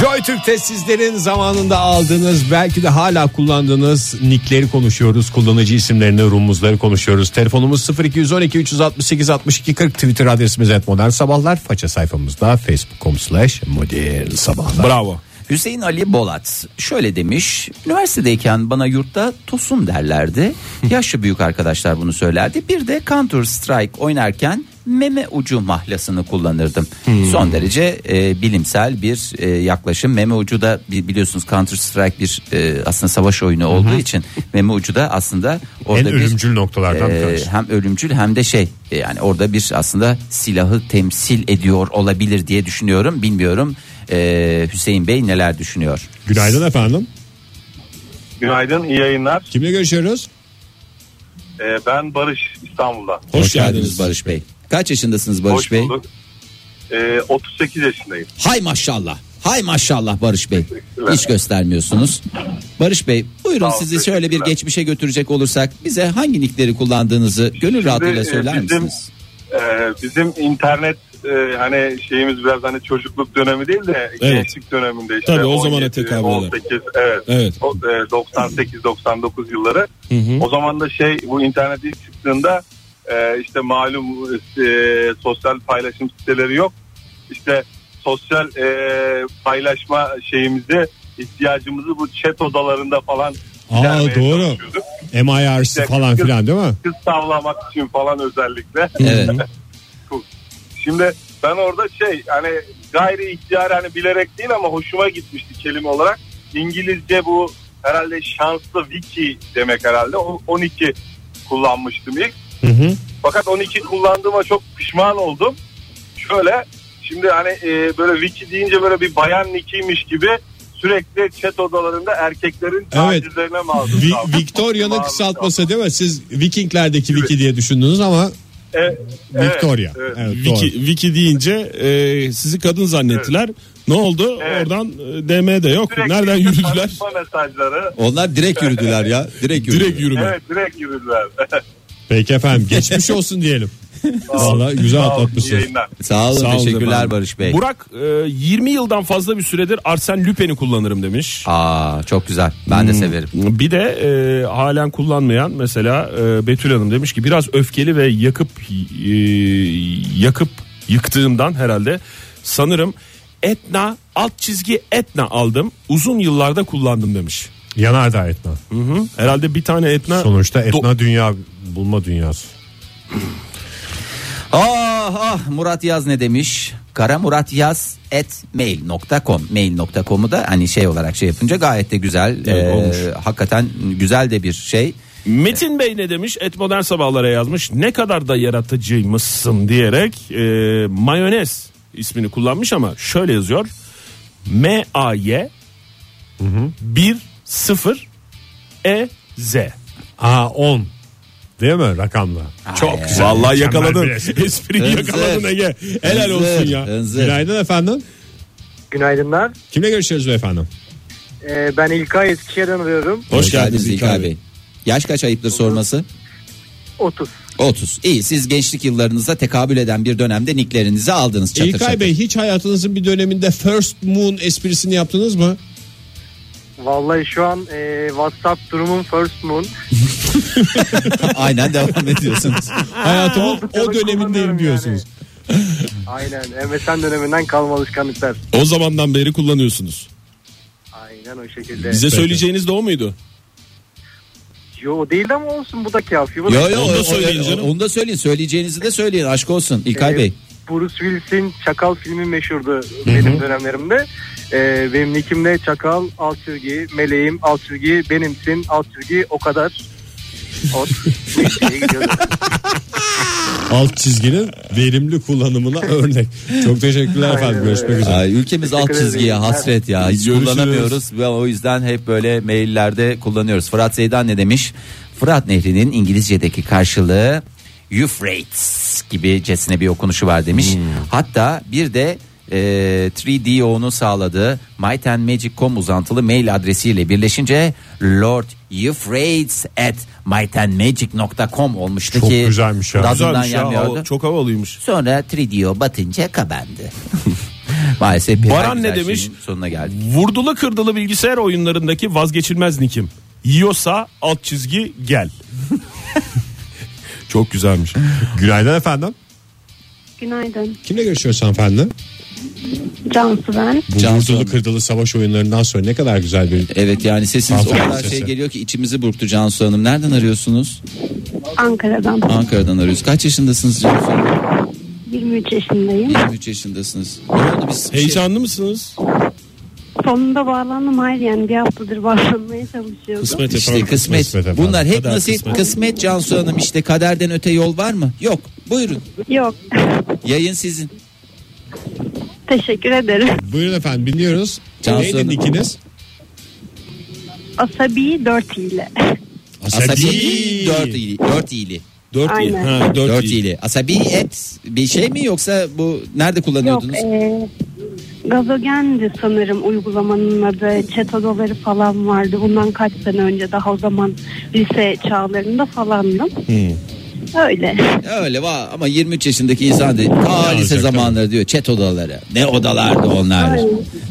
S2: Joy Türk'te sizlerin zamanında aldığınız belki de hala kullandığınız nickleri konuşuyoruz. Kullanıcı isimlerini, rumuzları konuşuyoruz. Telefonumuz 0212 368 62 40 Twitter adresimiz et modern sabahlar. Faça sayfamızda facebook.com slash modern sabahlar.
S4: Bravo.
S3: Hüseyin Ali Bolat şöyle demiş. Üniversitedeyken bana yurtta tosun derlerdi. Yaşlı büyük arkadaşlar bunu söylerdi. Bir de Counter Strike oynarken meme ucu mahlasını kullanırdım. Son derece e, bilimsel bir e, yaklaşım. Meme ucu da bi- biliyorsunuz Counter Strike bir e, aslında savaş oyunu olduğu için meme ucu da aslında orada bir
S2: ölümcül noktalardan bir
S3: e,
S2: tanesi.
S3: hem ölümcül hem de şey e, yani orada bir aslında silahı temsil ediyor olabilir diye düşünüyorum. Bilmiyorum e, Hüseyin Bey neler düşünüyor.
S2: Günaydın efendim.
S9: Günaydın, iyi yayınlar.
S2: Kimle görüşüyoruz?
S9: Ee, ben Barış İstanbul'dan.
S8: Hoş, geldiniz Barış Bey. Kaç yaşındasınız Barış
S9: Hoş
S8: Bey?
S9: bulduk. Ee, 38 yaşındayım.
S8: Hay maşallah. Hay maşallah Barış Bey. Hiç göstermiyorsunuz. Barış Bey buyurun
S9: Sağ olun,
S8: sizi şöyle bir
S9: teşekkürler.
S8: geçmişe götürecek olursak bize hangi nickleri kullandığınızı gönül rahatlığıyla
S9: e,
S8: söyler
S9: bizim-
S8: misiniz?
S9: Ee, bizim internet e, hani şeyimiz biraz hani çocukluk dönemi değil de gençlik döneminde işte.
S4: Tabii, o zamana tekabül eder.
S9: 18, Ee, evet.
S4: Evet.
S9: O, e, 98-99 yılları. O zaman da şey bu internet ilk çıktığında e, işte malum e, sosyal paylaşım siteleri yok. İşte sosyal e, paylaşma şeyimizi ihtiyacımızı bu chat odalarında falan
S2: Aa,
S9: gidermeye
S2: doğru.
S9: çalışıyorduk.
S2: MIRC falan filan değil mi?
S9: Kız tavlamak için falan özellikle.
S8: Evet.
S9: Şimdi ben orada şey hani gayri ihtiyar hani bilerek değil ama hoşuma gitmişti kelime olarak. İngilizce bu herhalde şanslı wiki demek herhalde. O- 12 kullanmıştım ilk.
S2: Hı hı.
S9: Fakat 12 kullandığıma çok pişman oldum. şöyle şimdi hani e, böyle wiki deyince böyle bir bayan nikiymiş gibi sürekli chat odalarında erkeklerin
S2: Evet.
S9: tacizlerine maruz kaldım.
S2: Vi- Victoria'nın
S9: Maruz
S2: kısaltması değil mi? Siz Vikinglerdeki Wiki diye düşündünüz ama
S9: kaldım. E, evet,
S2: Victoria.
S9: evet.
S2: Evet,
S4: Wiki,
S2: doğru.
S4: Wiki deyince e, sizi kadın zannettiler. Ne oldu?
S9: Evet.
S4: Oradan e, DM de yok.
S9: Sürekli
S4: Nereden
S9: işte
S4: yürüdüler?
S9: tanışma mesajları.
S8: Onlar direkt yürüdüler ya. Direkt yürüdüler.
S4: Direkt yürüme.
S9: Evet direkt yürüdüler.
S2: Peki efendim geçmiş olsun diyelim. Valla güzel
S9: Sağ olun, iyi
S2: atlatmışsınız.
S9: yayınlar.
S8: Sağ olun,
S4: Sağ olun
S8: teşekkürler
S4: efendim.
S8: Barış Bey.
S4: Burak e, 20 yıldan fazla bir süredir Arsene Lupin'i kullanırım demiş.
S3: Aa çok güzel. Ben
S2: Hmm.
S3: de severim.
S4: Hmm. Bir de e, halen kullanmayan mesela e, Betül Hanım demiş ki biraz öfkeli ve yakıp e, yakıp yıktığımdan herhalde sanırım Etna alt çizgi Etna aldım. Uzun yıllarda kullandım demiş.
S2: Yanardağ Etna.
S4: Herhalde bir tane Etna
S2: Sonuçta Etna
S4: Do-
S2: dünya bulma dünyası.
S3: Ah ah Murat Yaz ne demiş? Kara Murat Yaz et mail.com mail.com'u da hani şey olarak şey yapınca gayet de güzel. Ee,
S4: olmuş.
S3: hakikaten güzel de bir şey.
S4: Metin Bey ne demiş? Et Modern Sabahlara yazmış. Ne kadar da yaratıcıymışsın diyerek e, mayonez ismini kullanmış ama şöyle yazıyor. M A Y 1 0 E Z.
S2: Aa 10. Değil mi rakamla?
S4: Çok güzel. Vallahi yakaladın.
S2: bilesin.
S4: Espriyi yakaladın Ege. Helal
S8: Hınzır,
S4: olsun ya.
S8: hınzır.
S2: Günaydın efendim.
S10: Günaydınlar.
S2: Kimle görüşüyoruz efendim?
S10: Ee, ben İlkay Eskişehir'den arıyorum.
S8: Hoş geldiniz İlkay Bey. Yaş kaç ayıptır sorması?
S10: 30.
S8: 30. İyi siz gençlik yıllarınıza tekabül eden bir dönemde nicklerinizi aldınız çatır
S2: İlkay
S8: çatır.
S2: Bey hiç hayatınızın bir döneminde First Moon esprisini yaptınız mı?
S10: Vallahi şu an e, WhatsApp durumum first moon.
S8: Aynen devam ediyorsunuz.
S2: Hayatımın o dönemindeyim
S10: kullanıyorum
S2: diyorsunuz.
S10: Aynen. MSN döneminden kalma alışkanlıklar.
S4: O zamandan beri kullanıyorsunuz.
S10: Aynen o şekilde.
S4: Bize söyleyeceğiniz de o muydu?
S10: Yo değil ama olsun bu da kafi. Bu da-
S8: yo, yo,
S4: Onu da
S8: o- o-
S4: söyleyin canım.
S8: Onu da söyleyin. Söyleyeceğinizi de söyleyin. Aşk olsun İlkay
S10: Ee,
S8: Bey.
S10: Bruce Willis'in Çakal filmi meşhurdu benim dönemlerimde. Ee, benim nickimde Çakal, alt çizgi, meleğim, alt çizgi, benimsin, alt çizgi, o kadar. Ot. Neyse, gidiyoruz.
S2: Alt çizginin verimli kullanımına örnek. Çok teşekkürler efendim.
S10: Aynen
S2: Görüşmek
S10: öyle.
S2: üzere.
S8: Ay, ülkemiz alt
S10: Teşekkür ederim.
S8: çizgiye hasret ya. Hiç
S4: Görüşürüz.
S8: kullanamıyoruz ve o yüzden hep böyle maillerde kullanıyoruz. Fırat Zeydan ne demiş?
S3: Fırat Nehri'nin İngilizce'deki karşılığı Euphrates gibi cesine bir okunuşu var
S4: Hmm.
S3: demiş. Hatta bir de e, 3DO'nun sağladığı Might and Magic.com uzantılı mail adresiyle birleşince Lord Euphrates at mightandmagic.com olmuştu
S2: Çok
S3: ki
S2: güzelmiş ya.
S3: tadından
S4: Güzelmiş ya.
S3: yenmiyordu.
S4: Hava- Çok havalıymış.
S3: Sonra 3DO batınca kabandı. Maalesef bir
S4: Baran
S3: güzel
S4: ne demiş?
S3: şeyin Sonuna geldik.
S4: Vurdulu kırdılı bilgisayar oyunlarındaki vazgeçilmez nikim. Yiyorsa alt çizgi gel. Çok güzelmiş.
S2: Günaydın efendim.
S5: Günaydın.
S2: Kimle görüşüyoruz hanımefendi?
S5: Cansu ben.
S2: Bu
S8: Cansu
S2: vurdulu
S8: Hanım.
S2: kırdılı savaş oyunlarından sonra ne kadar güzel bir...
S8: Evet yani sesiniz o
S2: Hanımefendi
S8: kadar şey
S2: sesi.
S8: geliyor ki içimizi burktu Cansu Hanım. Nereden arıyorsunuz?
S5: Ankara'dan.
S8: Ankara'dan arıyoruz. Kaç yaşındasınız Cansu Hanım?
S5: 23 yaşındayım.
S8: 23 yaşındasınız. Ne oldu biz? bir şey-
S4: Heyecanlı mısınız?
S5: Sonunda bağlandım. Hayır yani bir haftadır bağlanmaya çalışıyordum.
S4: Kısmet
S8: İşte kısmet.
S2: Kısmet efendim.
S8: Bunlar hep
S4: Kader
S8: nasip
S4: kısmet.
S8: kısmet. Cansu Hanım işte kaderden öte yol var mı? Yok. Buyurun.
S5: Yok.
S8: Yayın sizin.
S5: Teşekkür ederim.
S2: Buyurun efendim dinliyoruz.
S8: Cansu
S2: Neydi
S8: Hanım.
S2: nikiniz?
S5: Asabi 4 ile.
S8: Asabi dört iyili. Dört iyili.
S4: Dört iyi.
S5: Aynen.
S4: Ha, dört
S8: Dört
S4: iyi.
S8: iyili. Asabi et bir şey mi yoksa bu nerede
S5: Yok.
S8: kullanıyordunuz?
S5: E, gazogendi sanırım uygulamanın adı. Chat odaları falan vardı. Bundan kaç sene önce daha o zaman lise çağlarında falandım.
S4: Hmm.
S5: Öyle.
S8: Öyle va ama 23 yaşındaki insan değil. Ta
S2: Ne
S8: lise
S2: olacak,
S8: zamanları diyor. Çet odaları. Ne odalardı onlar.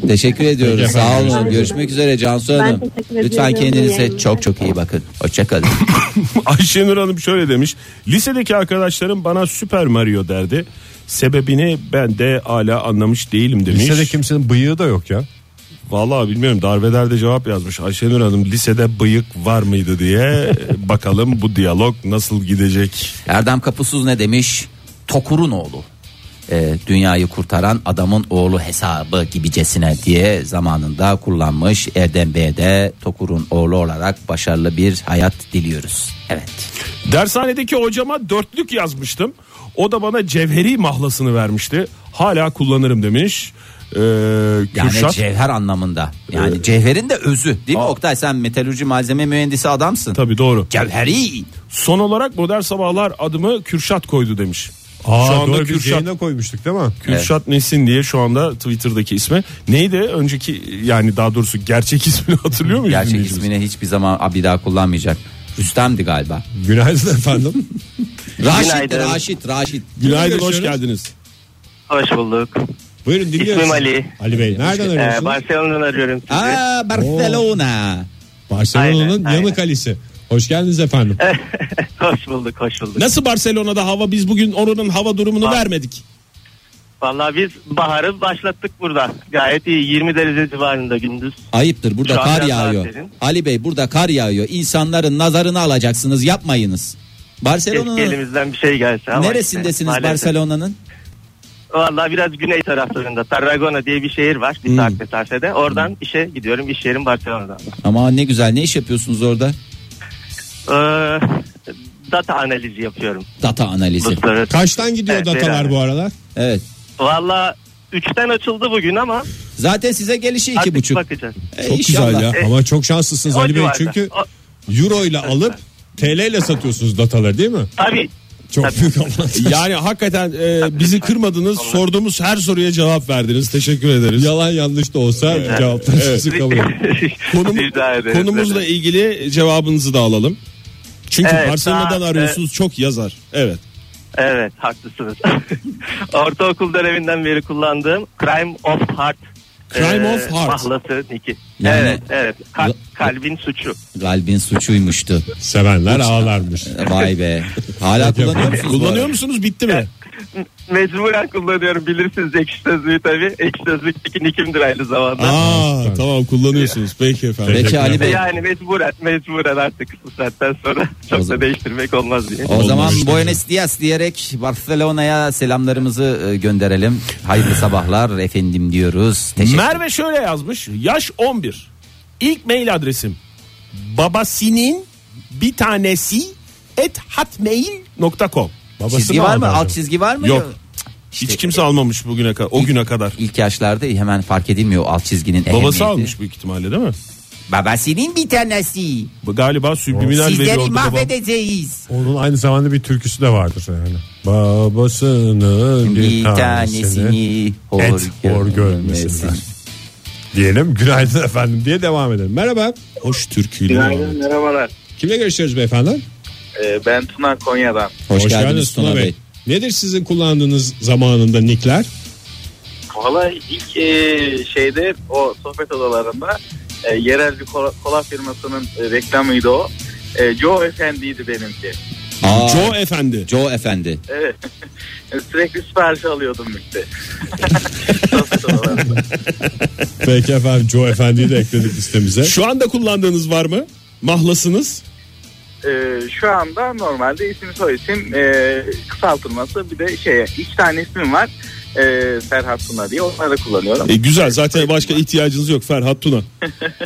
S8: Teşekkür ediyoruz.
S2: Peki
S8: Sağ
S2: efendim,
S8: olun. Görüşmek üzere Cansu Hanım.
S5: teşekkür ediyorum.
S8: Lütfen kendinize
S5: Yayınlar.
S8: çok çok iyi bakın. Hoşçakalın.
S4: Ayşenur Hanım şöyle demiş. Lisedeki arkadaşlarım bana Süper Mario derdi. Sebebini ben de hala anlamış değilim demiş.
S2: Lisede kimsenin bıyığı da yok ya.
S4: Vallahi bilmiyorum darbeder de cevap yazmış. Ayşenur Hanım lisede bıyık var mıydı diye bakalım bu diyalog nasıl gidecek.
S3: Erdem Kapusuz ne demiş? Tokur'un oğlu. Ee, dünyayı kurtaran adamın oğlu hesabı gibicesine diye zamanında kullanmış Erdem Bey'e de Tokur'un oğlu olarak başarılı bir hayat diliyoruz. Evet.
S4: Dershanedeki hocama dörtlük yazmıştım. O da bana cevheri mahlasını vermişti. Hala kullanırım demiş. Ee,
S3: Yani
S4: Kürşat. Ee,
S3: cevher anlamında. Yani cevherin de özü değil mi Oktay? Sen metalürji malzeme mühendisi adamsın.
S4: Tabii doğru.
S3: Cevheri.
S4: Son olarak Modern Sabahlar adımı Kürşat koydu demiş.
S2: Aa,
S4: şu anda
S2: doğru, biz
S4: Kürşat,
S2: yayına koymuştuk değil mi?
S4: Kürşat Nesin diye şu anda Twitter'daki ismi. Neydi önceki yani daha doğrusu gerçek ismini hatırlıyor muyuz?
S3: Gerçek
S4: dinleyicimiz?
S3: ismini hiçbir zaman a, bir daha kullanmayacak. Rüstem'di galiba.
S2: Günaydın efendim.
S8: Raşit,
S7: Günaydın.
S8: Raşit, Raşit.
S4: Günaydın
S2: Görüşürüz.
S4: hoş geldiniz.
S7: Hoş bulduk.
S2: Buyurun dinliyoruz.
S7: İsmim
S2: sizi.
S7: Ali.
S2: Ali Bey nereden
S7: Ee,
S2: arıyorsunuz?
S7: Barcelona'dan arıyorum sizi.
S8: Aa, Barcelona.
S2: Barcelona'nın
S7: Aynen, aynen.
S2: yanık Ali'si. Hoş geldiniz efendim.
S7: hoş bulduk, hoş bulduk.
S4: Nasıl Barcelona'da hava biz bugün oranın hava durumunu
S7: Bak.
S4: vermedik.
S7: Vallahi biz baharı başlattık burada. Gayet iyi. 20 derece civarında gündüz.
S8: Ayıptır burada
S7: Şu an
S8: kar
S7: biraz daha
S8: yağıyor.
S7: serin.
S8: Ali Bey burada kar yağıyor. İnsanların nazarını alacaksınız yapmayınız.
S7: Keşke
S8: Barcelona'nın
S7: elimizden bir şey gelse. ama işte
S8: neresindesiniz
S7: maalesef.
S8: Barcelona'nın?
S7: Vallahi biraz güney taraflarında. Tarragona diye bir şehir var. Bir saat mesafede. Oradan işe gidiyorum. İş yerim Barcelona'da.
S8: Ama ne güzel ne iş yapıyorsunuz orada?
S7: Ee, data analizi yapıyorum.
S8: Data analizi.
S7: Uluslararası.
S2: Kaçtan gidiyor
S7: Evet,
S2: datalar
S7: beraber.
S2: bu aralar?
S8: Evet.
S7: Vallahi 3'ten açıldı bugün ama
S8: Zaten size gelişi iki
S7: artık
S8: buçuk.
S7: bakacağız.
S8: E,
S2: Çok
S8: inşallah.
S2: güzel ya.
S7: E,
S2: Ama çok şanslısınız
S7: o
S2: Ali Bey
S7: civarda.
S2: çünkü
S7: O-
S2: euro ile alıp TL ile satıyorsunuz dataları değil mi?
S7: Tabii
S2: Çok
S7: Tabii.
S2: büyük avantaj.
S4: Yani hakikaten e, bizi kırmadınız. Sorduğumuz her soruya cevap verdiniz. Teşekkür ederiz.
S2: Yalan yanlış da olsa cevaplarınızı kabul edin.
S4: Konum-
S7: Rica ederiz.
S4: konumuzla ilgili cevabınızı da alalım. Çünkü
S7: Evet,
S4: Barcelona'dan
S7: daha- e-
S4: arıyorsunuz çok yazar. Evet.
S7: Evet haklısınız. Ortaokul dönevinden beri kullandığım Crime of Heart.
S4: Crime of Heart.
S7: Mahlası Niki.
S8: Yani-
S7: Evet evet. Ka-
S8: Ya-
S7: kalbin suçu.
S8: Galbin suçuymuştu.
S2: Sevenler ağlarmış.
S8: Vay be. Hala kullanıyor musunuz? bu
S4: Kullanıyor
S8: arada?
S4: musunuz? Bitti mi?
S7: Mecburen kullanıyorum bilirsiniz ekşi sözlüğü tabii. Ekşi sözlükteki nikimdir aynı zamanda.
S4: Aa tamam kullanıyorsunuz. Peki efendim.
S8: Peki Ali Bey.
S7: Yani mecburen, mecburen artık bu saatten sonra çok da değiştirmek olmaz diye.
S8: O zaman
S2: işte.
S8: Buenos
S3: Buenos Dias diyerek Barcelona'ya selamlarımızı e, gönderelim. Hayırlı sabahlar efendim diyoruz. Teşekkür
S4: Merve şöyle yazmış. Yaş 11. İlk mail adresim babasinin bir tanesi et hatmail.com.
S2: Babası
S3: Çizgi
S2: mı
S3: var
S2: aldı
S3: mı? Alt
S2: acaba?
S3: çizgi var mı?
S4: Yok. Hiç kimse almamış bugüne kadar. O güne kadar.
S3: İlk yaşlarda hemen fark edilmiyor o alt çizginin
S4: Babası
S3: ehemmiyeti.
S4: almış büyük ihtimalle değil mi?
S3: Babasının bir tanesi.
S4: Bu Galiba subliminal
S3: Sizleri
S4: veriyordu babam.
S3: mahvedeceğiz.
S2: Onun aynı zamanda bir türküsü de vardır yani. Babasının
S3: Bir
S2: bir tanesini
S3: tanesini
S2: et hor görmesinler. Diyelim günaydın efendim diye devam edelim. Merhaba. Hoş türküyle. devam
S11: Günaydın
S2: edelim.
S11: merhabalar.
S2: Kimle görüşüyoruz beyefendi?
S11: Ee, ben Tuna Konya'dan.
S8: Hoş, geldiniz Tuna Bey.
S2: Nedir sizin kullandığınız zamanında nickler?
S11: Valla ilk e, şeyde o sohbet odalarında e, yerel bir kola, kola firmasının e, reklamıydı o. E, Joe Efendi'ydi benimki.
S8: Aa, Joe.
S4: Joe efendi.
S8: efendi.
S11: Evet. Sürekli sipariş alıyordum işte. sohbet odalarında.
S2: Peki efendim Joe Efendi'yi de ekledik listemize.
S4: Şu anda kullandığınız var mı? Mahlasınız.
S11: E, şu anda normalde isim soy isim e, kısaltılması bir de şey iki tane ismim var. E, Serhat Tuna diye onları da kullanıyorum.
S4: E, güzel zaten başka ihtiyacınız yok Ferhat Tuna.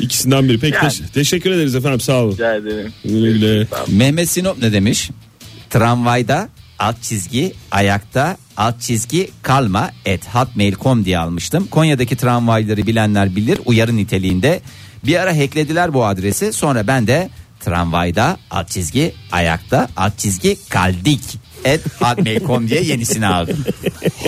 S4: İkisinden biri. Peki
S11: Yani.
S4: teş- teşekkür ederiz efendim sağ olun.
S11: Rica ederim.
S4: Güle güle.
S8: Mehmet Sinop ne demiş?
S3: Tramvayda alt çizgi ayakta alt çizgi kalma et hotmail.com diye almıştım. Konya'daki tramvayları bilenler bilir uyarı niteliğinde. Bir ara hacklediler bu adresi sonra ben de tramvayda alt çizgi ayakta alt çizgi kaldik et hotmail.com diye yenisini aldım.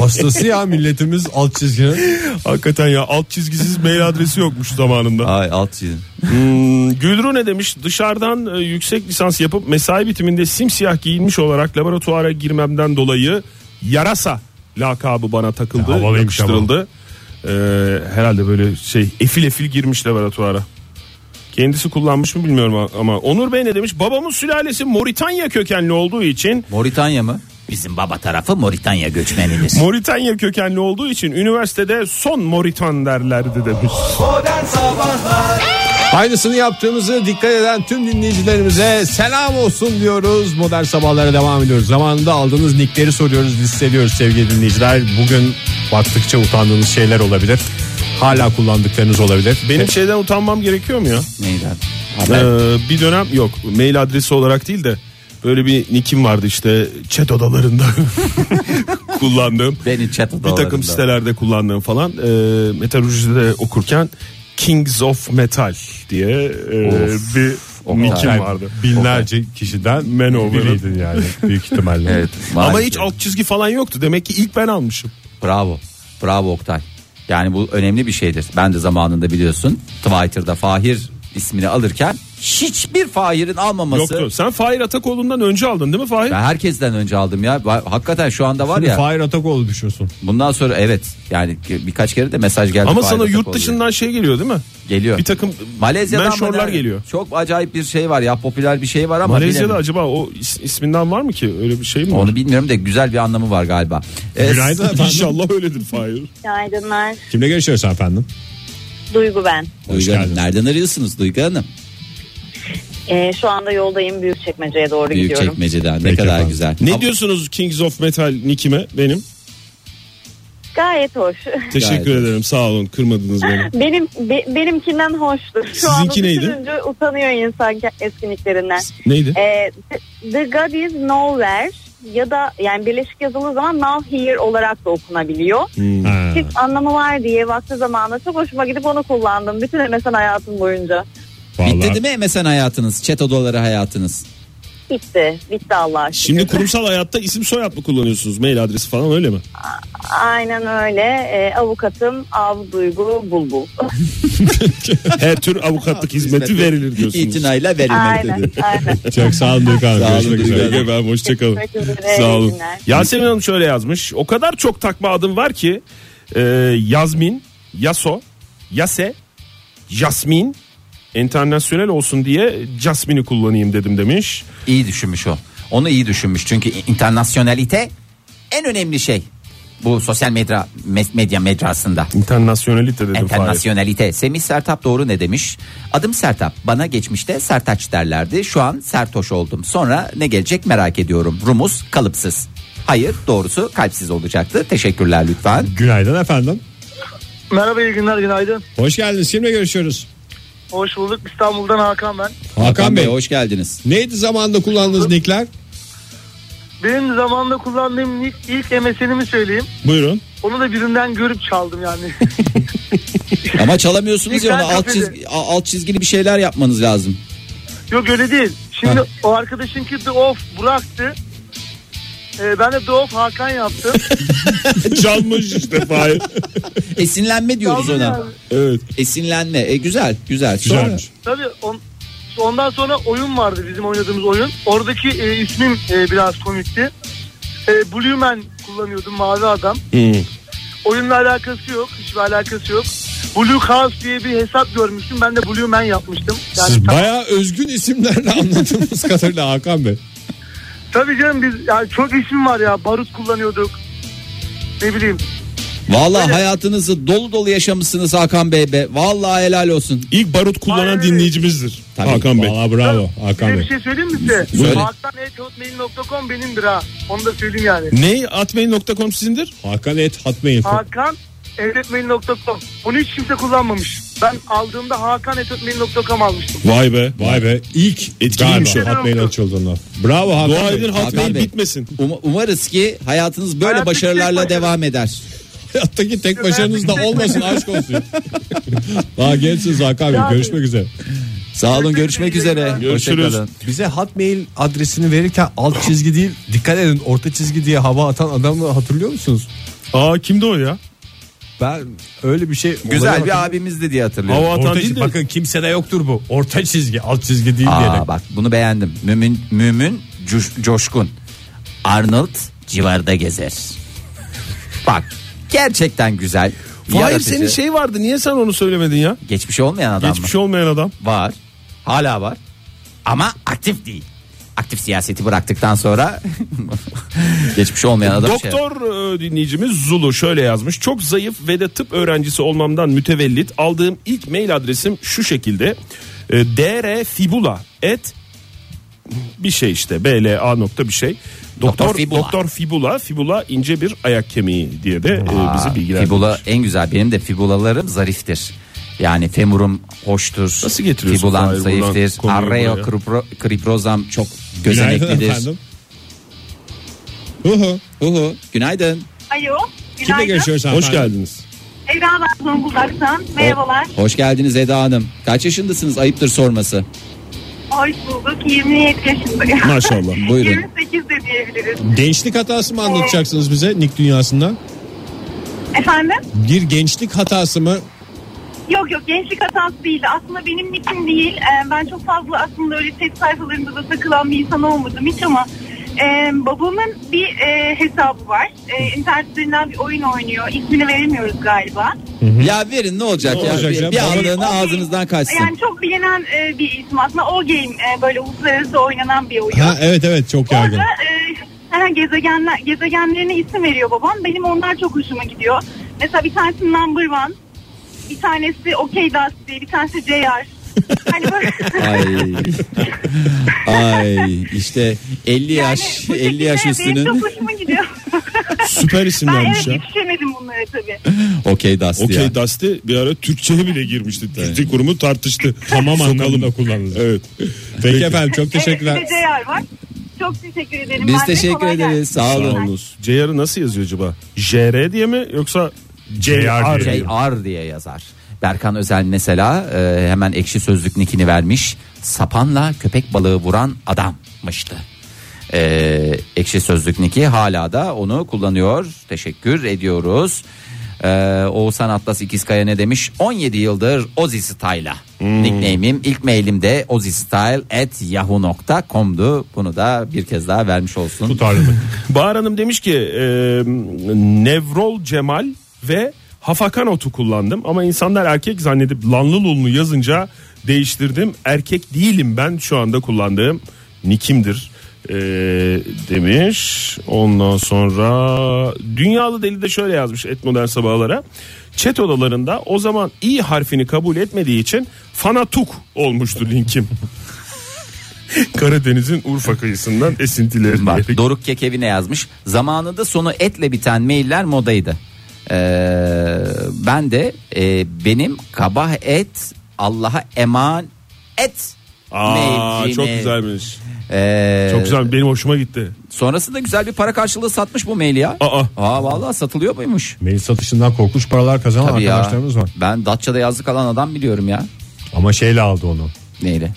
S2: Hastası ya milletimiz alt çizginin.
S4: Hakikaten ya alt çizgisiz mail adresi yokmuş zamanında.
S3: Ay alt çizgi.
S4: Hmm, Gülru ne demiş? Dışarıdan e, yüksek lisans yapıp mesai bitiminde simsiyah giyinmiş olarak laboratuvara girmemden dolayı yarasa lakabı bana takıldı,
S2: Ya, havalıymış ama.
S4: yakıştırıldı. Ee, herhalde böyle şey efil efil girmiş laboratuvara. Kendisi kullanmış mı bilmiyorum a- ama Onur Bey ne demiş? Babamın sülalesi Moritanya kökenli olduğu için
S3: Moritanya mı? Bizim baba tarafı Moritanya göçmenidir.
S4: Moritanya kökenli olduğu için üniversitede son Moritan derlerdi demiş.
S2: Aynısını yaptığımızı dikkat eden tüm dinleyicilerimize selam olsun diyoruz. Modern sabahlara devam ediyoruz. Zamanında aldığınız nickleri soruyoruz, listeliyoruz sevgili dinleyiciler. Bugün baktıkça utandığınız şeyler olabilir. Hala kullandıklarınız olabilir.
S4: Benim şey- şeyden utanmam gerekiyor mu ya?
S3: Neydi?
S4: Ee, bir dönem yok mail adresi olarak değil de Böyle bir nikim vardı işte chat odalarında kullandığım.
S3: Beni chat
S4: Bir takım
S3: odalarında.
S4: sitelerde kullandığım falan. E, metalurjide okurken Kings of Metal diye e,
S3: Of.
S4: bir nikim
S2: Yani
S4: vardı.
S2: Binlerce kişiden
S4: Manowar.
S2: biriydin yani büyük ihtimalle.
S3: Evet,
S4: Ama
S3: maalesef.
S4: hiç alt çizgi falan yoktu. Demek ki ilk ben almışım.
S3: Bravo. Bravo Oktay. Yani bu önemli bir şeydir. Ben de zamanında biliyorsun Twitter'da Fahir ismini alırken hiçbir Fahir'in almaması.
S4: Yoktu. Sen Fahir Atakoğlu'ndan önce aldın değil mi Fahir?
S3: Ben herkesten önce aldım ya. Va- Hakikaten şu anda var
S2: Şimdi
S3: ya.
S2: Fahir Atakoğlu düşüyorsun.
S3: Bundan sonra evet. Yani birkaç kere de mesaj geldi.
S4: Ama
S3: Fahir
S4: sana yurt
S3: Atakoğlu diye.
S4: dışından şey geliyor değil mi?
S3: geliyor.
S4: Bir takım
S3: Malezya'dan mı
S4: menşorlar
S3: nereden?
S4: geliyor.
S3: Çok acayip bir şey var ya popüler bir şey var ama
S4: Malezya'da
S3: bilemiyorum.
S4: acaba o is- isminden var mı ki? Öyle bir şey mi var?
S3: onu bilmiyorum da güzel bir anlamı var galiba. Ee,
S2: Günaydın.
S4: İnşallah öyledir Fahir.
S6: Günaydınlar.
S2: Kimle görüşüyoruz efendim?
S6: Duygu ben.
S8: Duygu Hanım, nereden arıyorsunuz Duygu Hanım?
S6: Ee, şu anda yoldayım Büyükçekmece'ye doğru gidiyorum.
S8: Büyükçekmece'den ne
S2: Peki
S8: kadar
S2: efendim.
S8: güzel.
S4: Ne
S8: Ama
S4: diyorsunuz Kings of Metal nikime benim?
S6: Gayet hoş.
S4: Teşekkür
S8: Gayet.
S4: ederim sağ olun kırmadınız beni.
S6: Benim be- benimkinden hoştur. Şu
S4: Sizinki
S6: anda
S4: neydi?
S6: düşününce utanıyor insan ke- eskinliklerinden.
S4: Neydi?
S6: Ee, the, the God is Nowhere ya da yani birleşik yazılı zaman Now Here olarak da okunabiliyor.
S3: Hmm.
S2: Ha.
S6: Çift anlamı var diye vakti zamanında çok hoşuma gidip onu kullandım. Bütün MSN hayatım boyunca.
S2: Vallahi-
S8: Bitti değil mi MSN hayatınız? Chat odaları hayatınız?
S6: Bitti. Bitti Allah aşkına.
S4: Şimdi kurumsal hayatta isim soyad mı kullanıyorsunuz? Mail adresi falan öyle mi?
S6: Aynen öyle. Ee, avukatım Av Duygu Bulbul.
S4: Her tür avukatlık hizmeti verilir diyorsunuz.
S8: İtinayla verilmek
S6: aynen.
S8: dedi.
S6: aynen.
S2: Çok sağ olun Duygu Hanım.
S8: Sağ olun
S2: Görüşmek
S8: Duygu
S2: üzere.
S8: Hanım.
S4: Ege ben hoşçakalın.
S6: Teşekkür ederim.
S4: Sağ
S6: İyi
S4: olun.
S6: günler.
S4: Yasemin Hanım şöyle yazmış. O kadar çok takma adım var ki e, Yazmin, Yaso, Yase, Jasmin internasyonel olsun diye Jasmin'i kullanayım dedim demiş.
S3: İyi düşünmüş o. Onu iyi düşünmüş çünkü internasyonalite en önemli şey. Bu sosyal medya mes- medya mecrasında.
S4: İnternasyonelite dedim. Fahir.
S3: Internasyonalite. Semih Sertap doğru ne demiş? Adım Sertap. Bana geçmişte Sertaç derlerdi. Şu an Sertoş oldum. Sonra ne gelecek merak ediyorum. Rumuz kalıpsız. Hayır doğrusu kalpsiz olacaktı. Teşekkürler lütfen.
S2: Günaydın efendim.
S10: Merhaba iyi günler günaydın.
S2: Hoş geldiniz. Kimle görüşüyoruz?
S10: Hoş bulduk İstanbul'dan Hakan ben.
S2: Hakan, Bey.
S8: hoş geldiniz.
S2: Neydi zamanında kullandığınız nickler?
S10: Benim zamanında kullandığım ilk, ilk MSN'imi söyleyeyim.
S4: Buyurun.
S10: Onu da birinden görüp çaldım yani.
S8: Ama çalamıyorsunuz ya ona
S10: Güzel
S8: alt,
S10: kafede.
S8: çizgi, a- alt çizgili bir şeyler yapmanız lazım.
S10: Yok öyle değil. Şimdi o arkadaşınki The Off bıraktı. Ee, ben de The Off Hakan yaptım.
S4: Çalmış işte Fahir.
S8: Esinlenme diyoruz
S10: Çaldım
S8: ona.
S10: yani.
S4: Evet.
S8: Esinlenme. E, güzel, güzel. Sonra-
S4: Güzelmiş.
S10: Tabii on, ondan sonra oyun vardı bizim oynadığımız oyun. Oradaki e, ismim e, biraz komikti. E, Blue Man kullanıyordum mavi adam.
S7: Hmm.
S10: Oyunla alakası yok. Hiçbir alakası yok. Blue House diye bir hesap görmüştüm. Ben de Blue Man yapmıştım. Yani
S2: Siz bayağı özgün isimlerle anladığımız kadarıyla Hakan Bey.
S10: Tabii canım biz yani çok isim var ya. Barut kullanıyorduk. Ne bileyim.
S8: Vallahi hayatınızı dolu dolu yaşamışsınız Hakan Bey be. Vallahi helal olsun.
S4: İlk barut kullanan
S10: Aynen.
S4: dinleyicimizdir.
S8: Tabii.
S4: Hakan Bey.
S2: Vallahi bravo
S10: Size
S2: Hakan
S10: bir
S2: Bey.
S10: şey söyleyeyim mi size?
S8: Söyle.
S10: Hakan.hotmail.com benimdir ha. Onu da söyleyeyim yani.
S4: Ne? Atmail.com sizindir?
S2: Hakan et hatmail.
S10: Hakan evretmail.com. Bunu hiç kimse kullanmamış. Ben aldığımda Hakan evretmail.com almıştım.
S4: Vay be.
S2: Vay be ilk
S4: Etkiliymiş
S2: galiba
S10: o.
S2: Hatmail açıldığında. Bravo Hakan
S4: Dua
S2: Bey.
S4: edin
S8: Hakan
S4: Hotmail
S8: Bey.
S4: bitmesin.
S8: Um- umarız ki hayatınız böyle
S10: Hayatınız
S8: başarılarla
S10: tek başarı.
S8: devam eder.
S2: Hayattaki tek başarınız da olmasın aşk olsun. Daha gençsiniz Hakan Bey. Görüşmek üzere.
S8: Sağ olun görüşmek üzere.
S4: Görüşürüz.
S8: Hoşçakalın.
S2: Bize Hotmail adresini verirken alt çizgi değil dikkat edin orta çizgi diye hava atan adamı hatırlıyor musunuz?
S4: Aa kimdi o ya?
S2: Ben öyle bir şey
S3: Güzel
S2: olaya
S3: bir
S2: bakın-
S3: abimizdi diye hatırlıyorum.
S4: Hava atan
S2: Orta
S4: değil de.
S2: çizgi, bakın kimsede yoktur bu. Orta çizgi, alt çizgi değil
S3: Aa,
S2: diyerek.
S3: bak bunu beğendim. Mümin Mümin Coş- Coşkun. Arnold civarda gezer. bak gerçekten güzel.
S4: Hayır
S3: yaratıcı,
S4: senin şey vardı. Niye sen onu söylemedin ya?
S3: geçmişi olmayan adam mı?
S4: Geçmiş olmayan adam.
S3: Var. Hala var. Ama aktif değil. Aktif siyaseti bıraktıktan sonra geçmiş olmayan adam şey-
S4: Doktor e, dinleyicimiz Zulu şöyle yazmış. Çok zayıf ve de tıp öğrencisi olmamdan mütevellit aldığım ilk mail adresim şu şekilde. E, drfibula et bir şey işte BLA nokta bir şey. Doktor,
S3: Doktor
S4: Doktor
S3: Fibula.
S4: Fibula. Fibula ince bir ayak kemiği diye de e, bizi bilgilendirmiş.
S3: Fibula en güzel benim de fibulalarım zariftir. Yani femurum hoştur.
S4: Nasıl getiriyorsun
S3: Fibulam
S4: Fahir buradan
S3: zayıftir.
S4: konuyu
S3: Arreo
S4: buraya?
S3: kripro- kriprozam çok
S2: Günaydın
S8: Gözeneklidir.
S2: efendim. Uhu.
S8: Uhu. Günaydın.
S12: Alo.
S2: Kimle
S12: Günaydın.
S2: görüşüyoruz
S8: Hoş
S4: geldiniz.
S12: Eda ben Zonguldak'tan. Merhabalar.
S8: Hoş geldiniz Eda Hanım. Kaç yaşındasınız? Ayıptır sorması.
S12: Hoş bulduk. 27 yaşındayım.
S2: Maşallah,
S8: buyurun.
S12: 28 de diyebiliriz.
S2: Gençlik hatası mı anlatacaksınız bize Nick dünyasından?
S12: Efendim?
S2: Bir gençlik hatası mı?
S12: Yok yok gençlik hatası değildi. Aslında benim nikim değil. Ee, Ben çok fazla aslında öyle set sayfalarında da takılan bir insan olmadım hiç ama e, babamın bir e, hesabı var. E, internet üzerinden bir oyun oynuyor. İsmini veremiyoruz galiba.
S8: Ya verin ne olacak
S12: Ne
S8: ya?
S12: olacak
S8: bir
S12: ya?
S8: bir
S12: Bana-
S8: anlığına ağzınızdan kaçsın.
S12: Yani çok bilinen e, bir isim aslında. O game e, böyle uluslararası oynanan bir oyun.
S2: Ha evet evet çok yaygın.
S12: Orada e, he, gezegenler, gezegenlerine isim veriyor babam. Benim onlar çok hoşuma gidiyor. Mesela bir tanesi Number One, bir tanesi OK Dust diye, bir tanesi JR. hani böyle
S8: Ay. Ay işte 50 yaş 50 yaş
S12: benim
S8: üstünün
S12: çok hoşuma gidiyor.
S4: Süper
S12: ben
S4: isimlermiş
S12: evet
S4: ya.
S12: yetişemedim bunlara tabii.
S8: Okey Dust
S4: Okey
S8: ya.
S4: Dust'ı bir ara Türkçe'ye bile girmişti. Türkçe kurumu tartıştı.
S2: Tamam
S4: Sokalım.
S2: anlamında kullanılır.
S4: Evet.
S2: Peki efendim çok teşekkürler.
S12: Evet, bir de JR var. Çok teşekkür ederim.
S8: Biz
S12: Ben de
S8: teşekkür
S12: kolay gelsin.
S8: ederiz. Sağ olun.
S4: JR'ı nasıl yazıyor acaba? JR diye mi yoksa
S3: JR
S4: JR diye
S3: diye,
S4: mi?
S3: yazar. Berkan Özel mesela e, hemen ekşi sözlük nikini vermiş. Sapanla köpek balığı vuran adammıştı. E, ekşi sözlük niki hala da onu kullanıyor. Teşekkür ediyoruz. E, Oğuzhan Atlas İkizkaya ne demiş? 17 yıldır Ozi Style'a. Nickname'im ilk mailim de ozistyle@yahoo.com'du. Bunu da bir kez daha vermiş olsun.
S4: Bahar Hanım demiş ki e, Nevrol Cemal ve Hafakan otu kullandım ama insanlar erkek zannedip lanlı lunlu yazınca değiştirdim. Erkek değilim ben şu anda kullandığım nikimdir e, demiş. Ondan sonra Dünyalı Deli de şöyle yazmış et modern sabahlara. Chat odalarında o zaman i harfini kabul etmediği için fanatuk olmuştu linkim. Karadeniz'in Urfa kıyısından esintileri.
S3: Bak, Doruk Kekevi ne yazmış? Zamanında sonu etle biten mailler modaydı. Ee, ben de e, benim kabah et Allah'a eman et
S4: Aa
S3: mailcimi-
S4: çok güzelmiş.
S3: Ee,
S4: Çok güzel benim hoşuma gitti.
S3: Sonrasında güzel bir para karşılığı satmış bu maili ya.
S4: Aa.
S3: vallahi satılıyor muymuş?
S2: Mail satışından korkunç paralar kazanan
S3: Tabii ya.
S2: arkadaşlarımız var.
S3: Ben Datça'da yazlık alan adam biliyorum ya.
S2: Ama şeyle aldı onu.
S3: Neyle?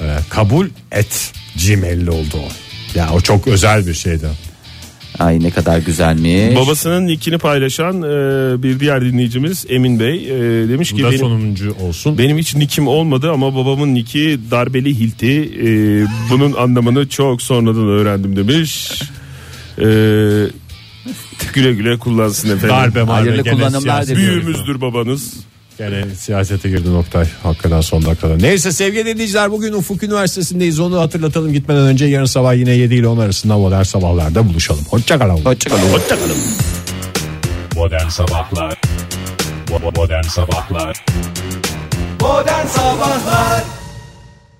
S2: Ee, kabul et Gmail'li oldu o. Ya o çok özel bir şey. şeydi.
S3: Ay ne kadar güzelmiş.
S4: Babasının nickini paylaşan e, bir diğer dinleyicimiz Emin Bey e, demiş ki
S2: Bu da
S4: benim,
S2: sonuncu olsun.
S4: benim hiç nickim olmadı ama babamın nicki darbeli hilti. E, bunun anlamını çok sonradan öğrendim demiş. E, güle güle kullansın efendim.
S2: Darbe marbe
S3: Hayırlı
S2: gene
S3: kullanımlar
S2: siyaset-
S3: diliyorum.
S4: Büyüğümüzdür babanız.
S2: Gene siyasete girdi Oktay hakikaten son dakikada. Neyse sevgili dinleyiciler bugün Ufuk Üniversitesi'ndeyiz onu hatırlatalım gitmeden önce yarın sabah yine 7 ile 10 arasında modern sabahlarda buluşalım. Hoşçakalın.
S3: Hoşçakalın.
S4: Hoşçakalın.
S2: Modern sabahlar. Modern sabahlar.
S1: Modern Sabahlar